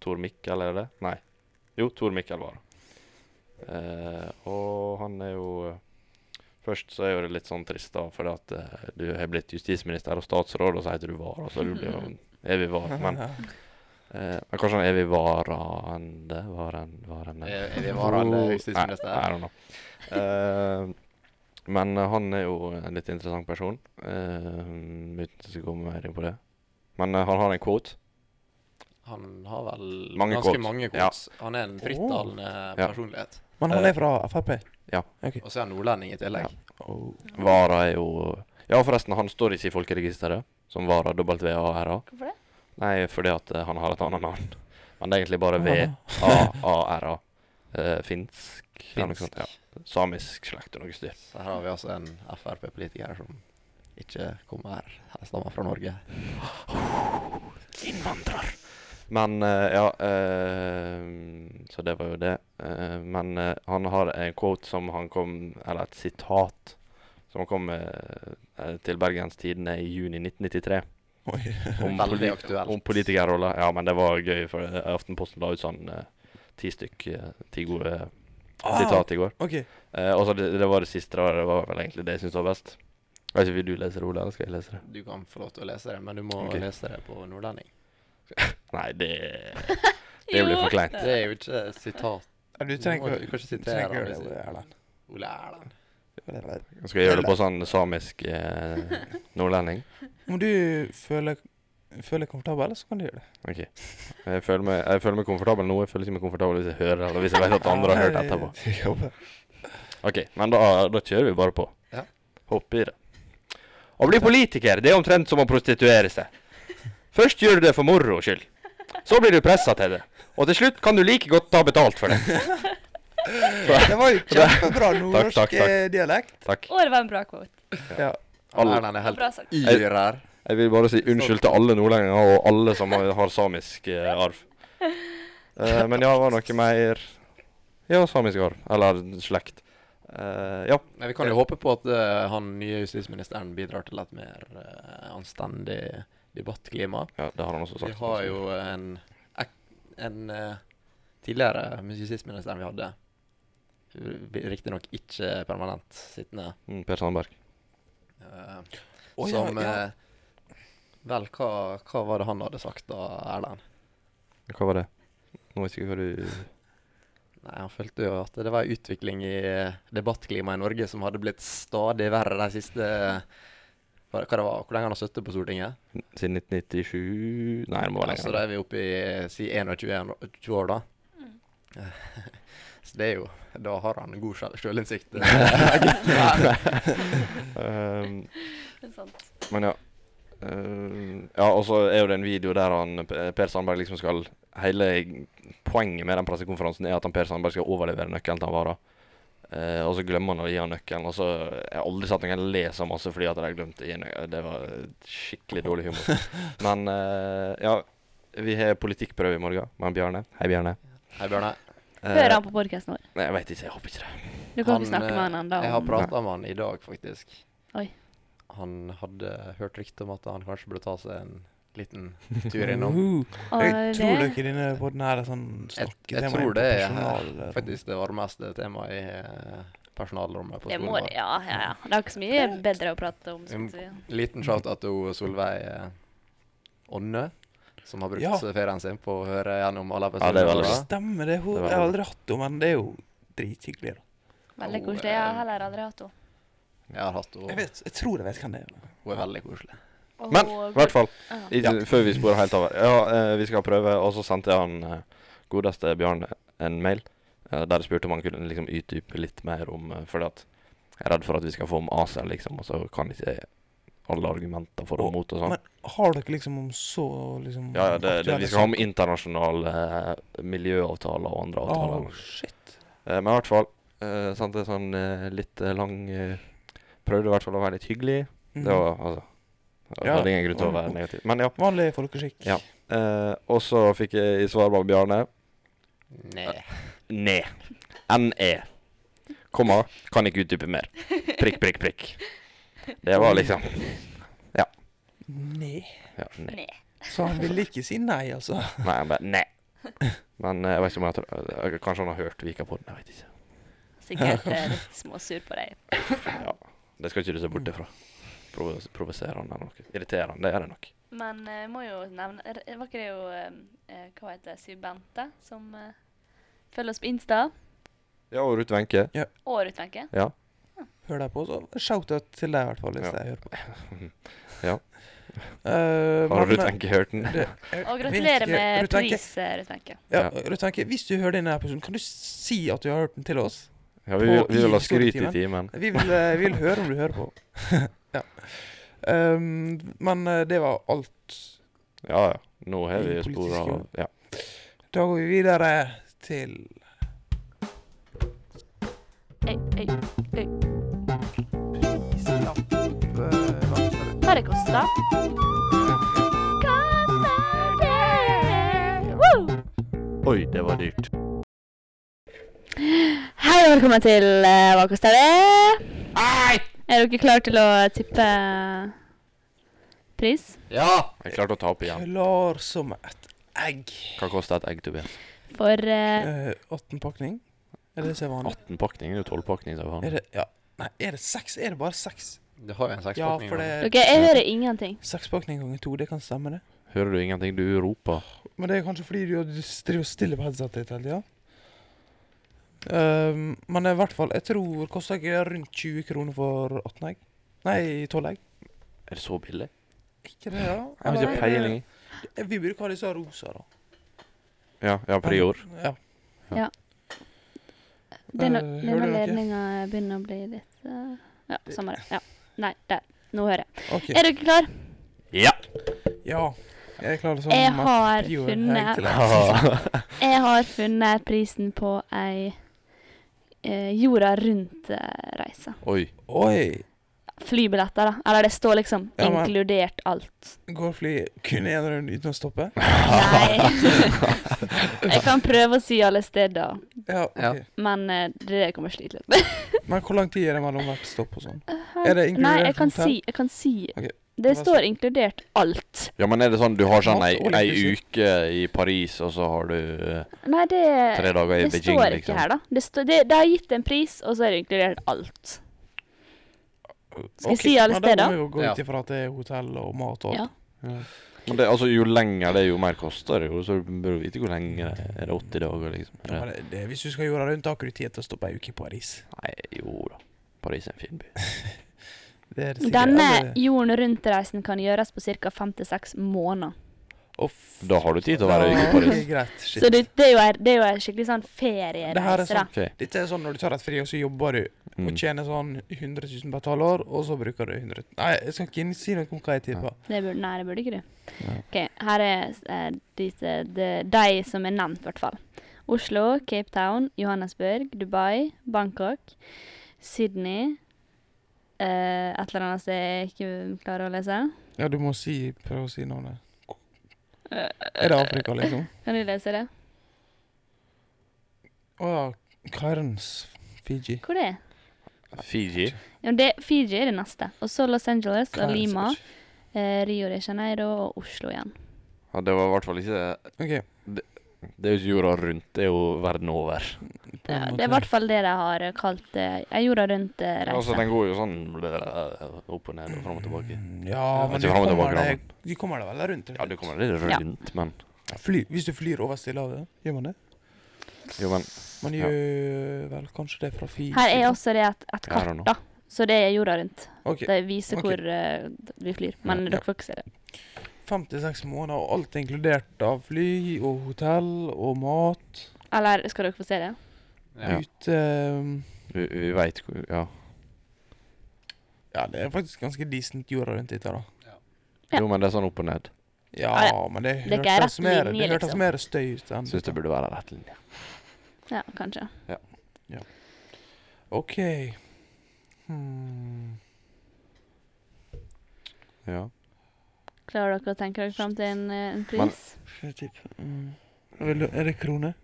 S2: Tor Mikkel, er det det? Nei. Jo, Tor Mikkel Vara. Eh, og han er jo Først så er jo det litt sånn trist, da, fordi at eh, du har blitt justisminister og statsråd, og så heter du VAR, og så du blir jo en evig VAR. Men, eh, men kanskje han evig varende Varen... varende
S3: Er, er vi varende
S2: Oh, Nei, I
S3: justisminister?
S2: don't know. Eh, men eh, han er jo en litt interessant person, eh, uten at jeg skal gå mer inn på det. Men eh, han har en quote.
S3: Han har vel
S2: Mange
S3: ganske
S2: quotes.
S3: mange quotes. Han er en frittalende
S2: Ja.
S3: personlighet.
S1: Men
S2: eh,
S1: han er fra Frp?
S2: ja.
S1: Ok.
S3: Og så er han nordlending i tillegg.
S1: Oh.
S2: Vara er jo Ja, forresten, han står ikke i folkeregisteret som Vara WARA.
S4: Hvorfor det?
S2: Nei, fordi at eh, han har et annet navn. Men det er egentlig bare
S1: Ah.
S2: V-A-A-R-A. Eh, finsk? eller noe sånt,
S3: Finsk.
S2: Ja. Samisk slekt og noe styr.
S3: Så her har vi altså en Frp-politiker som ikke kommer her. Han stammer fra Norge.
S2: Innvandrer. Men eh, ja eh, Så det var jo det. Eh, men eh, han har en quote som han kom Eller et sitat som han kom med eh, til Bergens Tidende i juni 1993.
S1: Oi.
S2: Om,
S3: Veldig
S2: politi
S3: aktuelt.
S2: om politikerroller. Ja, men det var gøy, for eh, Aftenposten la ut sånn eh, ti stykk eh, ti gode
S1: Ah,
S2: sitat i går.
S1: OK.
S2: Eh, og så det, det var det siste, da. Det var vel egentlig det jeg syntes var best. Jeg vet ikke, Vil du lese det, Ole, eller skal jeg lese det?
S3: Du kan få lov til å lese det, men du må
S2: Ok.
S3: lese det på nordlending.
S2: Nei, det, det blir for
S4: Eh.
S2: kleint.
S3: Det er jo ikke et sitat.
S1: Ja, Du
S3: Du
S1: trenger ikke
S3: må- du kan ikke
S1: du
S3: sitere
S1: trenger ikke
S3: han
S1: gjøre
S3: hvis
S1: det,
S3: du-
S1: Erlend.
S3: Ole Erlend.
S2: Skal jeg gjøre det på sånn samisk eh, nordlending?
S1: Om du føler føler deg komfortabel, så kan du gjøre det.
S2: Ok. Jeg føler, meg, jeg føler meg komfortabel nå. Jeg føler ikke meg komfortabel hvis jeg hører eller hvis jeg vet at andre har hørt etterpå.
S1: etterpå.
S2: Ok, Men da, da kjører vi bare på.
S3: Ja.
S2: Hoppe i det. Å bli politiker det er omtrent som å prostituere seg. Først gjør du det for moro skyld. Så blir du pressa til det. Og til slutt kan du like godt ta betalt for det.
S1: Det var jo kjempebra
S2: Takk, takk,
S1: nordnorsk
S2: takk.
S1: eh, dialekt.
S2: Takk.
S4: Å, det var en bra quote.
S1: Ja.
S3: Alle
S2: Alle-
S3: Erlend er helt
S4: Bra sagt.
S3: yr her.
S2: Jeg vil bare si unnskyld til alle nordlendinger og alle som har, har samisk eh, arv. Eh, men ja, det var noe mer Ja, samisk arv. Eller slekt. Eh, ja.
S3: Men vi kan jo håpe på at eh, han nye justisministeren bidrar til et mer eh, anstendig debattklima.
S2: ja, det har han også
S3: Vi
S2: sagt.
S3: har jo en, ek- en eh, tidligere justisminister vi hadde. Riktignok ikke permanent sittende.
S2: Mm, per Sandberg.
S3: eh,
S1: Å, ja,
S3: som
S1: ja.
S3: eh, Vel, hva, hva var det han hadde sagt da, Erlend?
S2: Hva var det? Nå vet jeg ikke hva du
S3: Nei, Han følte jo at det var en utvikling i eh, debattklimaet i Norge som hadde blitt stadig verre de siste hva, hva det var, Hvor lenge han har sittet på Stortinget?
S2: Siden 1997 Nei, det må være
S3: Altså,
S2: lenger.
S3: da er vi oppe i si 21 år- 20 år, da. Så det er jo Da har han god sjel- sjølinnsikt. eh,
S2: Ehm,
S4: Det er sant.
S2: Men ja. Eh, ja, og så er jo det en video der han P- Per Sandberg liksom skal Hele poenget med den pressekonferansen er at han Per Sandberg skal overlevere nøkkelen til han Vara. Eh, og så glemmer han å gi han nøkkelen. Og så Jeg har aldri sett noen le så masse fordi at de glemte å gi nøkkelen. Det var skikkelig dårlig humor. Men eh, ja, vi har politikkprøve i morgen med han Bjarne. Hei, Bjarne.
S3: Hei, Bjørne.
S2: Eh,
S4: Hører han på podkasten vår?
S2: Nei, jeg veit ikke. Jeg håper ikke det.
S4: Du kan ikke
S3: Han,
S4: snakke
S3: eh,
S4: med han ennå.
S3: Jeg har prata med han i dag, faktisk.
S4: Oi.
S3: Han hadde hørt rykte om at han kanskje burde ta seg en liten tur innom.
S1: Uhu.
S4: Å,
S1: Jeg
S4: det-
S1: tror dere denne podden her er sånn
S3: Jeg,
S1: snakketema.
S3: jeg tror det er
S1: inn på personal, eller-
S3: faktisk det varmeste temaet i eh, personalrommet på
S4: Det må det,
S3: skolen.
S4: ja, ja, ja. Det er ikke så mye bedre å prate om.
S3: Mm.
S4: skulle jeg si.
S3: vår. Liten shout-out til Solveig eh, Ånne, som har brukt
S1: Ja.
S3: ferien sin på å høre gjennom alle
S2: Ja, det er veldig
S3: våre.
S2: bra.
S1: Stemmer det. Hun,
S2: Det var
S1: jeg har aldri hatt henne, men det er jo drithyggelig. da.
S4: Veldig
S3: Au,
S4: koselig. Jeg har
S3: eh,
S4: heller aldri hatt henne.
S3: Jeg har hatt
S1: Jeg,
S3: henne.
S1: vet, jeg tror jeg vet hvem det er.
S3: Hun er veldig koselig.
S4: Og Ah.
S2: Men
S4: hun-
S2: i hvert fall.
S4: Ja.
S2: I, Før vi sporer helt over. Ja, eh, vi skal prøve, og så sendte jeg han eh, godeste Bjørn en mail eh, der jeg spurte om han kunne liksom utdype litt mer om eh, Fordi at jeg er redd for at vi skal få om ACER, liksom, og så kan ikke jeg alle argumenter for
S1: Å,
S2: og mot og sånn.
S1: Men har dere liksom om så liksom
S2: Ja, ja, det, det,
S1: aktuelle
S2: vi skal ha
S1: saker?
S2: om internasjonale eh, miljøavtaler og andre avtaler.
S1: Åh, shit.
S2: Eh, men i hvert fall eh, sendte jeg sånn eh, litt eh, lang eh, Prøvde i hvert fall å være litt hyggelig.
S1: Mhm.
S2: Det var altså Jeg
S1: Ja.
S2: hadde ingen grunn til å være negativ. Men ja.
S1: Vanlig folkeskikk.
S2: Ja. Eh, og så fikk jeg i svar av Bjarne
S3: Nei.
S2: Ne. NE. E. Komma. Kan ikke utdype mer. Prikk, prikk, prikk. Det var liksom
S1: Nei.
S2: ja, ne.
S4: Nei.
S1: Så han ville ikke si nei, altså.
S2: Nei, han bare ne. Men eh, jeg vet ikke om jeg tror eh, Kanskje han har hørt Vika på den. Jeg vet ikke.
S4: sikkert eh, litt småsur på deg.
S2: Ja, det skal ikke du se bort ifra. Provos- Provoserende eller noe. Irriterende, det er det nok.
S4: Men eh, jeg må jo nevne er- er- Var ikke det jo eh, eh, Hva heter det? Siv Bente, som eh, følger oss på Insta.
S2: Ja, og Ruth Wenche.
S4: Og Rutvenke.
S2: Ja.
S1: Hør deg på, så shout-out til deg i hvert fall, hvis
S2: Ja.
S1: jeg hører på.
S2: Ja.
S1: Eh,
S2: Har
S1: men-
S2: Ruth Wenche hørt den?
S1: Det- eh, jeg
S4: Og
S1: vet
S4: gratulerer
S1: ikke.
S4: med
S1: Ruth Wenche,
S4: pris, eh, Rutvenke.
S1: Ja,
S2: Ja.
S1: Ruth Wenche, hvis du hører denne episoden, kan du si at du har hørt den til oss?
S2: Ja, vi,
S1: På
S2: vil- vi vil ha
S1: i
S2: skryt i
S1: historietimen.
S2: timen.
S1: Vi vil, eh, vi vil høre om du hører på. ja. Um, men eh, det var alt.
S2: Ja, ja. Nå har vi
S1: I politisk
S2: spor av
S1: jobb.
S2: Ja.
S1: Da går vi videre til
S4: Ei, ei, ei.
S1: prislapp.
S4: Hva det koster? Koster det? Woo!
S2: Oi, det var dyrt.
S4: Hei og velkommen til eh, Hva koster det? Er dere klare til å tippe pris?
S3: Ja!
S2: Jeg klarte å ta opp igjen.
S1: Klar som et egg.
S2: Hva koster et egg, Tobias?
S4: For eh,
S1: Eh, 18 pakning? Er det det som er vanlig?
S2: 18 pakning eller 12 pakning? sa vi han.
S1: Er det, ja. Nei, er det seks? Er det bare seks?
S3: Du har jo en
S1: Ja,
S3: sekspakning.
S1: for det
S4: dere, jeg hører ingenting.
S1: Sekspakning ganger to, det kan stemme, det.
S2: Hører du ingenting? Du roper.
S1: Men det er kanskje fordi du du driver stille på headsetet ditt hele tida. Um, men i hvert fall, jeg tror koster ikke det rundt 20 kroner for 18 egg? Nei, 12 egg.
S2: Er det så billig?
S1: Ikke det, ja?
S2: Jeg har ikke
S1: Eller er det-
S2: peiling.
S1: Vi bruker ha disse rosa, da.
S2: Ja, ja, prior.
S1: Ja.
S4: Denne,
S1: Eh, hører
S4: denne
S1: dere?
S4: ledninga begynner å bli litt eh, Ja, samme det. Ja. Nei, der. Nå hører jeg.
S1: OK.
S4: Er dere klar?
S2: Ja!
S1: Ja. Jeg sånn, er klar som
S4: Jeg
S1: et
S4: har
S1: prior egg
S4: funnet
S1: til egg.
S4: Jeg har funnet prisen på ei eh, jorda rundt-reise.
S2: Oi.
S1: Oi.
S4: Flybilletter, da. Eller det står liksom
S1: Ja, men-
S4: inkludert alt.
S1: Går flyet kun én runde uten å stoppe?
S4: Nei. jeg kan prøve å si alle steder,
S1: Ja, ok.
S3: Ja.
S4: men eh, det kommer jeg slite litt med.
S1: Men hvor lang tid er det mellom hvert stopp og sånn? Er det inkludert
S4: Nei, jeg kan
S1: hotell?
S4: si, jeg kan si.
S1: Ok,
S4: Det
S1: hva
S4: står
S1: sier-
S4: inkludert alt.
S2: Ja, men er det sånn du har sånn ei,
S1: Mat og
S2: ei
S1: inklusiv.
S2: uke i Paris, og så har du eh,
S4: Nei, det,
S2: tre dager i
S4: det
S2: Beijing,
S4: står ikke
S2: liksom?
S4: her, da. Det, står- det, det har gitt en pris, og så er det inkludert alt. Skal jeg
S1: Ok,
S4: si alle
S1: men Da
S4: steder?
S1: må vi jo gå
S3: Ja.
S1: ut ifra at det er hotell og mat og alt.
S4: Ja.
S2: Men det, altså, jo lenger det er, jo mer koster det jo, så du bør jo vite hvor lenge det er. Er det 80 dager, liksom?
S1: Ja, men det, det, hvis du skal jorda rundt, da har ikke du tid til å stoppe ei uke i Paris.
S2: Nei, jo da. Paris er en fin by.
S1: Det er det sikkert.
S4: Denne
S1: Eller-
S4: jorden rundt-reisen kan gjøres på ca. fem til seks måneder.
S1: eh, Uff.
S2: Da har du tid til å være i
S1: Ja,
S2: Paris.
S1: ok, greit. Shit.
S4: Så det, det, er jo ei- det er jo ei skikkelig sånn
S1: Det her er
S4: feriereise, da.
S1: sånn-
S2: OK.
S1: Dette er sånn når du tar et fri, og så jobber du
S2: Mm.
S1: og tjener sånn 100 000 per halvår, og så bruker du 100 Nei, jeg skal ikke si noe om hva jeg tipper.
S4: Det burde, nei, det burde ikke du.
S2: Ja.
S4: Ok, Her er eh, disse, de, de som er nevnt, i hvert fall. Oslo, Cape Town, Johannesburg, Dubai, Bangkok, Sydney eh, Et eller annet som jeg ikke klarer å lese.
S1: Ja, du må si prøve å si navnet. Er det Afrika, liksom?
S4: Kan du lese det?
S1: Å ja. Cairns. Fiji.
S4: Hvor det er
S2: Fiji.
S4: ja, det? Fiji er det neste. Og så Los Angeles og
S1: Cairns,
S4: Lima. Eh, Rio de Janeiro og Oslo igjen.
S2: Ja, det var i hvert fall ikke
S1: OK.
S2: Det er jo ikke jorda rundt, det er jo verden over.
S1: på en
S4: Ja,
S1: måte.
S4: det er i hvert fall det de har eh, kalt eh, ei jorda
S2: Altså,
S4: rundt-reise.
S2: den går jo sånn eh, opp og ned og fram og tilbake.
S1: Ja, men
S2: Jeg vet ikke
S1: du
S2: om det var
S1: kommer,
S2: graven.
S1: deg, du kommer deg vel rundt?
S2: Ja, du kommer litt
S4: Ja.
S2: rundt, men
S1: Fly, hvis du flyr over Stillehavet, gjør man det?
S2: Jo, men
S1: Man
S2: Ja.
S1: gjør vel kanskje det fra Fiji?
S4: Her er også det et, et
S2: Ja, I don't
S4: kart,
S2: know.
S4: da. Så det er jorda rundt.
S1: Ok,
S4: Det viser
S1: Ok.
S4: hvor eh, vi flyr. Men
S1: Ja.
S4: dere får ikke se det.
S1: 56 måneder, og alt er inkludert av fly og hotell og mat.
S4: Eller skal dere få se det?
S3: Ja.
S1: Ute
S2: vi, vi veit hvor Ja.
S1: Ja, det er faktisk ganske decent jorda rundt dette, da.
S4: Ja.
S2: Jo, men det er sånn opp og ned.
S1: Ja,
S4: Ja,
S1: men det
S4: er ikke
S1: hørtes
S4: rett
S1: mer,
S4: linje,
S1: det hørtes
S4: liksom.
S1: mer støy ut enn
S2: Syns det burde være rett linje.
S4: Ja, kanskje.
S1: OK. Hmm.
S2: Ja.
S4: Klarer dere å tenke dere fram til en, eh, en
S2: Men-
S4: pris?
S1: Skal jeg tippe mm. Vil du, Er det krone?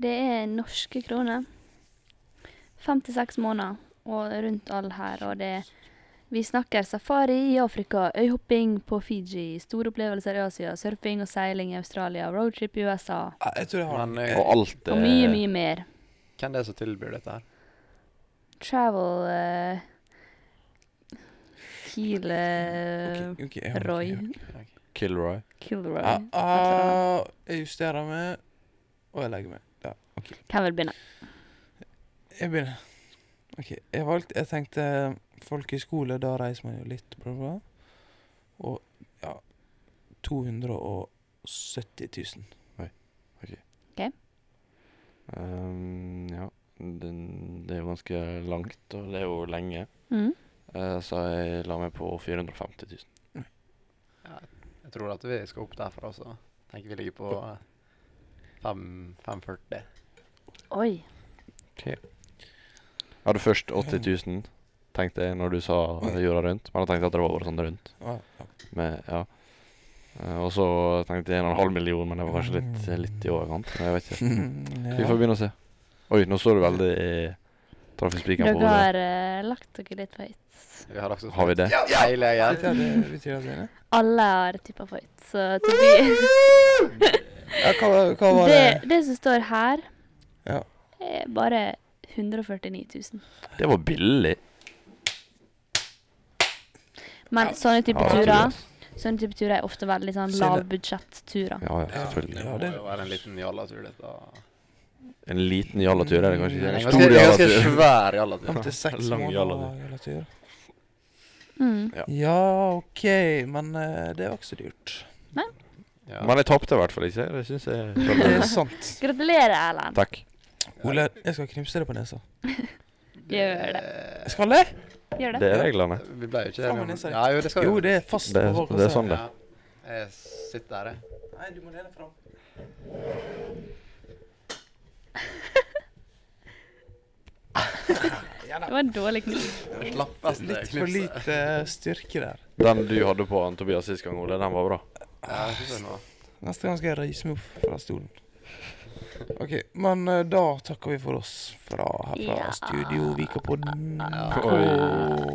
S4: Det er norske kroner. 56 måneder og rundt all her, og det Vi snakker safari i Afrika, øyhopping på Fiji, store opplevelser i Asia, surfing og seiling i Australia, roadtrip i USA
S1: Nei, Jeg tror jeg har
S3: Men eh,
S2: Og alt
S4: og mye, mye mer.
S3: hvem det er som tilbyr dette her?
S4: travel eh, Kiel eh,
S1: Ok, ok, jeg har noe,
S4: Roy.
S1: jeg har noe.
S2: Kilroy.
S4: Kilroy.
S1: Ah,
S4: altså,
S1: ah, jeg justerer meg, og jeg legger meg. Ja, ok.
S4: Hvem vil begynne?
S1: Jeg begynner. Ok, jeg valgte, jeg tenkte folkehøyskole, da reiser man jo litt, bla bla. Og ja, 270 000.
S2: Um, ja. Den, det er jo ganske langt, og det er jo lenge.
S4: Mm.
S2: Eh, så jeg la meg på 450 000.
S3: Jeg tror at vi skal opp derfra også. Tenker vi ligger på eh, fem- 540.
S4: Oi.
S2: Jeg hadde først 80 000, tenkte jeg, når du sa jorda rundt. Men jeg tenkte at det var bare sånn rundt.
S1: Ja, ja.
S2: Med, ja. Eh, og så tenkte jeg en og en halv million, men det var kanskje litt, litt i overkant. men Jeg vet ikke. Vi får
S1: ja.
S2: begynne å se. Oi, nå står du veldig i Traff i spikeren på
S4: Dere
S2: hodet.
S4: har eh, lagt dere litt for høyt.
S3: Vi har lagt oss
S2: Har vi det?
S3: Ja, Hele
S1: Vet du
S3: gjengen.
S1: hva det betyr at vi er enige?
S4: Alle har tippa for høyt, så Tobias
S1: Ja, hva, var- hva var det?
S4: det, det som står her,
S1: Ja.
S4: er bare 149 000.
S2: Det var billig.
S4: Men sånne type
S1: Ah,
S2: Ja, det tror jeg,
S4: turer
S2: ass.
S4: Sånne type turer er ofte veldig sånn
S1: Siden-
S4: lavbudsjetturer.
S2: Ja, ja, selvfølgelig.
S3: Det
S1: Ja,
S3: må
S1: det-
S3: jo være en liten jallatur, dette.
S2: En liten jallatur er det kanskje ikke.
S3: En
S2: En
S3: ganske,
S2: stor
S3: en ganske
S2: jallatur.
S3: svær jallatur.
S1: Opp til seks
S2: Lang
S1: måneder jallatur.
S4: Mm.
S2: Ja.
S1: Ja, OK, men eh, det var ikke så dyrt.
S3: Ja.
S2: Men jeg tapte i hvert fall ikke. Det syns
S1: Det
S2: jeg
S1: er sant.
S4: Gratulerer, Erlend.
S2: Takk.
S1: Ole, jeg skal knipse deg på nesa.
S4: Gjør det.
S1: Jeg skal det?
S4: Gjør
S2: Det
S4: det.
S2: er reglene.
S3: Vi ble jo ikke
S1: Faen,
S3: enige
S1: men
S3: om
S1: jeg sa-
S3: Ja, jo, det skal
S1: Jo,
S3: vi.
S1: det er fast
S2: Det er-
S1: på
S2: det er
S1: bakkassa.
S2: sånn det.
S3: Ja. Jeg sitter her, jeg.
S1: Nei, du må lene fram. ja da.
S4: Det var en dårlig kniv.
S3: Jeg Slapp av.
S1: Litt for lite eh, styrke der.
S2: Den du hadde på han Tobias sist gang, Ole, den var bra.
S3: Ja, jeg synes det nå.
S1: Neste gang skal jeg reise meg opp fra stolen. OK, men eh, da takker vi for oss fra, her fra
S4: Ja.
S1: studio Vikapodden.
S3: Ja.
S1: K.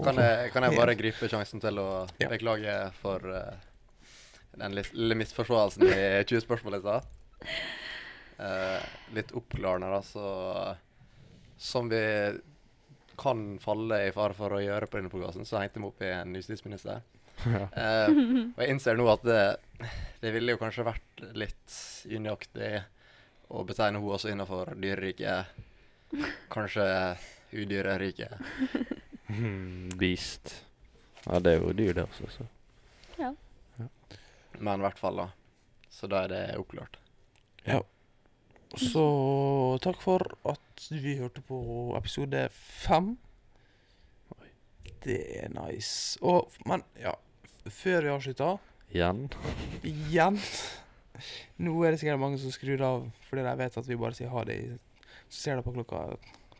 S3: Kan jeg, kan jeg bare gripe sjansen til å
S1: Ja.
S3: beklage for eh, den lis- lille misforståelsen i 20 spørsmål i stad? Eh, litt oppklarende, da, så Som vi kan falle i fare for å gjøre på denne podkasten, så hengte vi opp i en justisminister.
S2: Ja.
S3: Eh, og jeg innser nå at det, det ville jo kanskje vært litt unøyaktig å betegne henne også innenfor dyreriket. Kanskje udyreriket.
S2: Beast. Ja, det er jo dyr, det også. Så.
S3: Men i hvert fall, da. Så da er det oppklart.
S1: Så takk for at vi hørte på episode fem. Det er nice. Og, men ja, f- før vi avslutter
S2: Igjen.
S1: igjen Nå er det sikkert mange som skrur av fordi de vet at vi bare sier ha det i Så ser de på klokka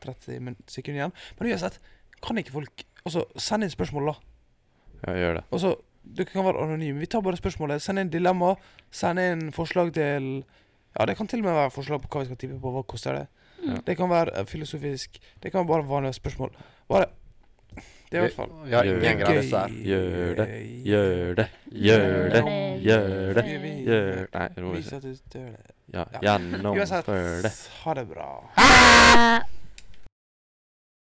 S1: 30 min- sekunder igjen. Men uansett, kan ikke folk Altså, send inn spørsmål, da.
S2: Ja, gjør det.
S1: Altså, dere kan være anonyme. Vi tar bare spørsmålet. Send inn dilemma. Send inn forslag til Ja, det kan til og med være forslag på hva vi skal tippe på. Hva koster det?
S4: Mm.
S2: Ja.
S1: Det kan være eh, filosofisk. Det kan være bare vanlige spørsmål. Bare Det er i hvert fall
S3: Vi har
S2: Gjør
S3: ingen
S2: det.
S3: grenser her.
S2: Gjør det. Gjør det, gjør det, gjør det, gjør Nei, nå må vi
S1: Vis
S2: se.
S1: at du gjør det.
S2: Ja,
S1: Ja.
S2: gjennomfør det.
S1: Uansett, ha det bra.
S4: Ha det.